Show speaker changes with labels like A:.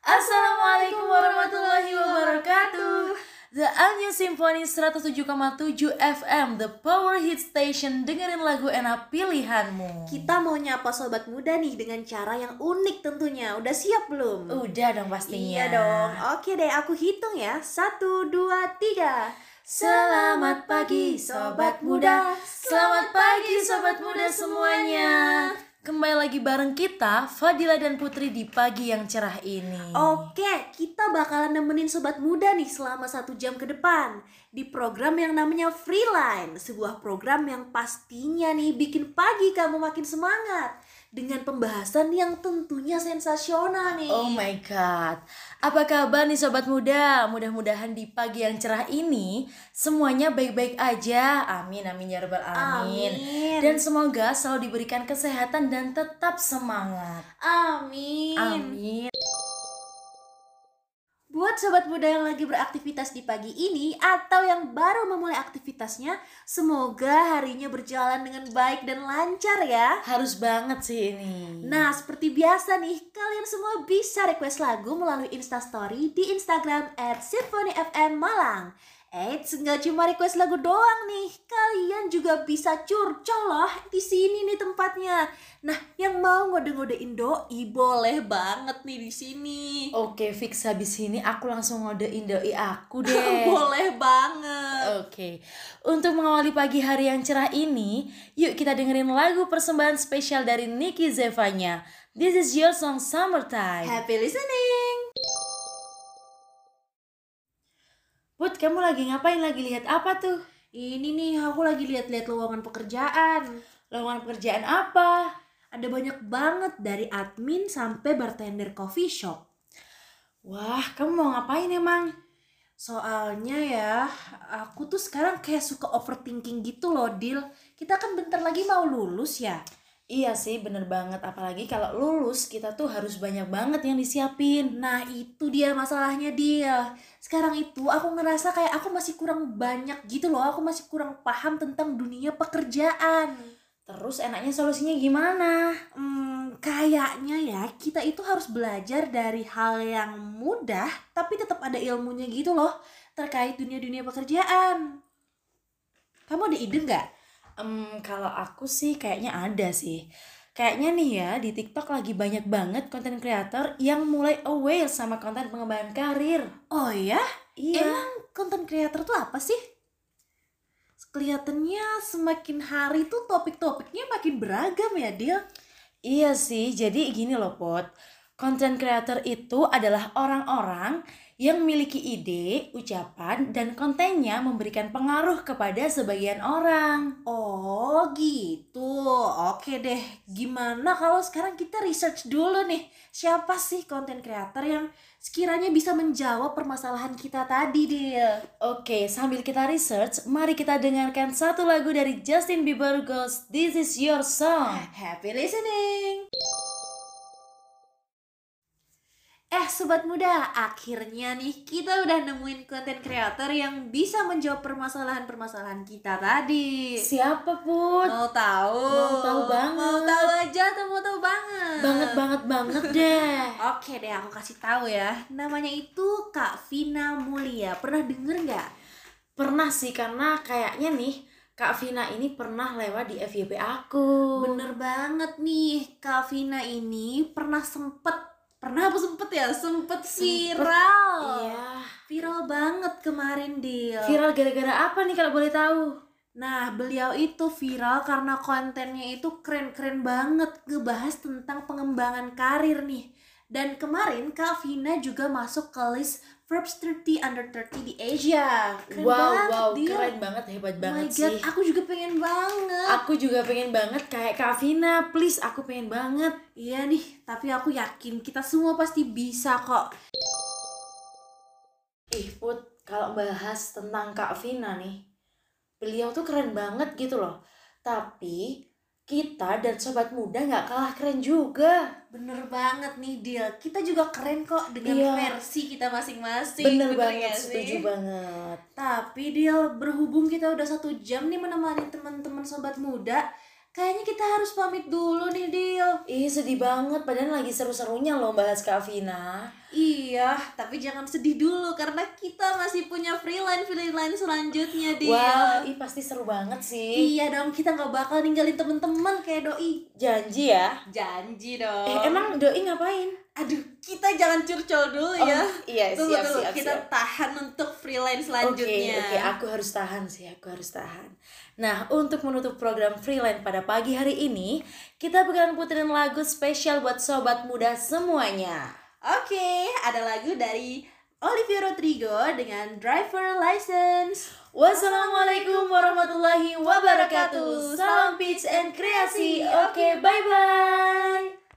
A: Assalamualaikum warahmatullahi wabarakatuh. The All New Symphony 107,7 FM, The Power Hit Station. Dengerin lagu enak pilihanmu.
B: Kita mau nyapa sobat muda nih dengan cara yang unik tentunya. Udah siap belum?
A: Udah dong pastinya.
B: Iya dong. Oke deh, aku hitung ya. Satu, dua, tiga.
A: Selamat pagi sobat muda. Selamat pagi sobat muda semuanya. Kembali lagi bareng kita Fadila dan Putri di pagi yang cerah ini.
B: Oh, Oke, kita bakalan nemenin sobat muda nih selama satu jam ke depan di program yang namanya Freeline, sebuah program yang pastinya nih bikin pagi kamu makin semangat dengan pembahasan yang tentunya sensasional nih.
A: Oh my god. Apa kabar nih sobat muda? Mudah-mudahan di pagi yang cerah ini semuanya baik-baik aja. Amin amin ya rabbal alamin.
B: Amin.
A: Dan semoga selalu diberikan kesehatan dan tetap semangat.
B: Amin.
A: Amin.
B: Buat sobat muda yang lagi beraktivitas di pagi ini atau yang baru memulai aktivitasnya, semoga harinya berjalan dengan baik dan lancar ya.
A: Harus banget sih ini.
B: Nah, seperti biasa nih, kalian semua bisa request lagu melalui Instastory di Instagram at SymphonyFM Malang. Eits, nggak cuma request lagu doang nih, kalian juga bisa curcol loh di sini nih tempatnya. Nah, yang mau ngode-ngodein doi boleh banget nih di sini.
A: Oke, fix habis ini aku langsung ngodein doi aku deh.
B: boleh banget.
A: Oke, untuk mengawali pagi hari yang cerah ini, yuk kita dengerin lagu persembahan spesial dari Nicky Zevanya. This is your song Summertime.
B: Happy listening.
A: Put, kamu lagi ngapain? Lagi lihat apa tuh?
B: Ini nih, aku lagi lihat-lihat lowongan pekerjaan.
A: Lowongan pekerjaan apa?
B: Ada banyak banget dari admin sampai bartender coffee shop.
A: Wah, kamu mau ngapain emang?
B: Soalnya ya, aku tuh sekarang kayak suka overthinking gitu loh, Dil. Kita kan bentar lagi mau lulus ya.
A: Iya sih, bener banget. Apalagi kalau lulus, kita tuh harus banyak banget yang disiapin.
B: Nah, itu dia masalahnya, Dil. Sekarang itu aku ngerasa kayak aku masih kurang banyak gitu loh. Aku masih kurang paham tentang dunia pekerjaan.
A: Terus enaknya solusinya gimana?
B: Hmm, kayaknya ya kita itu harus belajar dari hal yang mudah tapi tetap ada ilmunya gitu loh terkait dunia-dunia pekerjaan. Kamu ada ide nggak?
A: Em, kalau aku sih kayaknya ada sih. Kayaknya nih ya, di TikTok lagi banyak banget konten kreator yang mulai aware sama konten pengembangan karir.
B: Oh ya,
A: Iya.
B: Emang konten creator tuh apa sih? Kelihatannya semakin hari tuh topik-topiknya makin beragam ya, Dil.
A: Iya sih, jadi gini loh Pot. Konten kreator itu adalah orang-orang yang memiliki ide, ucapan, dan kontennya memberikan pengaruh kepada sebagian orang.
B: Oh, gitu. Oke deh. Gimana kalau sekarang kita research dulu nih, siapa sih konten creator yang sekiranya bisa menjawab permasalahan kita tadi, Dil?
A: Oke, sambil kita research, mari kita dengarkan satu lagu dari Justin Bieber Ghost, This Is Your Song.
B: Eh, Happy listening! Eh sobat muda, akhirnya nih kita udah nemuin konten kreator yang bisa menjawab permasalahan-permasalahan kita tadi.
A: Siapa Put?
B: Mau tahu?
A: Mau tahu banget.
B: Mau tahu aja atau mau tahu banget?
A: banget banget banget deh
B: Oke deh, aku kasih tahu ya. Namanya itu Kak Vina Mulia. Pernah denger nggak?
A: pernah sih karena kayaknya nih Kak Vina ini pernah lewat di FYP aku
B: Bener banget nih, Kak Vina ini pernah sempet, pernah apa sempet ya? Sempet viral.
A: iya
B: Viral banget kemarin, Dil.
A: viral gara-gara apa nih kalau boleh tahu
B: Nah, beliau itu viral karena kontennya itu keren-keren banget ngebahas tentang pengembangan karir nih. Dan kemarin Kak Vina juga masuk ke list Forbes 30 Under 30 di Asia. Keren
A: wow
B: banget,
A: wow
B: Dil.
A: keren banget hebat
B: Oh
A: banget
B: my
A: sih
B: God, aku juga pengen banget.
A: aku juga pengen banget kayak Kak Vina please aku pengen banget
B: Iya nih, tapi aku yakin kita semua pasti bisa kok.
A: ih put kalau bahas tentang Kak Vina nih beliau tuh keren banget gitu loh tapi kita dan sobat muda nggak kalah keren juga
B: Bener banget nih, Dil. Kita juga keren kok dengan
A: Iya.
B: versi kita masing-masing.
A: bener
B: nggak
A: banget
B: sih?
A: setuju banget
B: Tapi Dil, berhubung kita udah satu jam nih menemani teman-teman sobat muda, kayaknya kita harus pamit dulu nih Dil.
A: Ih sedih banget, padahal lagi seru-serunya loh bahas Kak Vina
B: Iya, tapi jangan sedih dulu karena kita masih punya freelance freelance selanjutnya dia.
A: Wah, ih pasti seru banget sih.
B: Iya dong, kita nggak bakal ninggalin temen-temen kayak doi.
A: Janji ya.
B: Janji dong.
A: Eh, emang doi ngapain?
B: aduh kita jangan curcol dulu
A: Oh,
B: ya.
A: Iya,
B: Tunggu
A: siap,
B: dulu,
A: siap,
B: kita
A: siap.
B: tahan untuk
A: Oke,
B: freelance selanjutnya.
A: oke, ah. aku harus tahan sih, aku harus tahan. Nah, untuk menutup program freelance pada pagi hari ini, kita bakalan puterin lagu spesial buat sobat muda semuanya.
B: Oke, ada lagu dari Olivia Rodrigo dengan Driver License.
A: Wassalamualaikum warahmatullahi wabarakatuh. Salam pitch and kreasi. Oke, bye bye.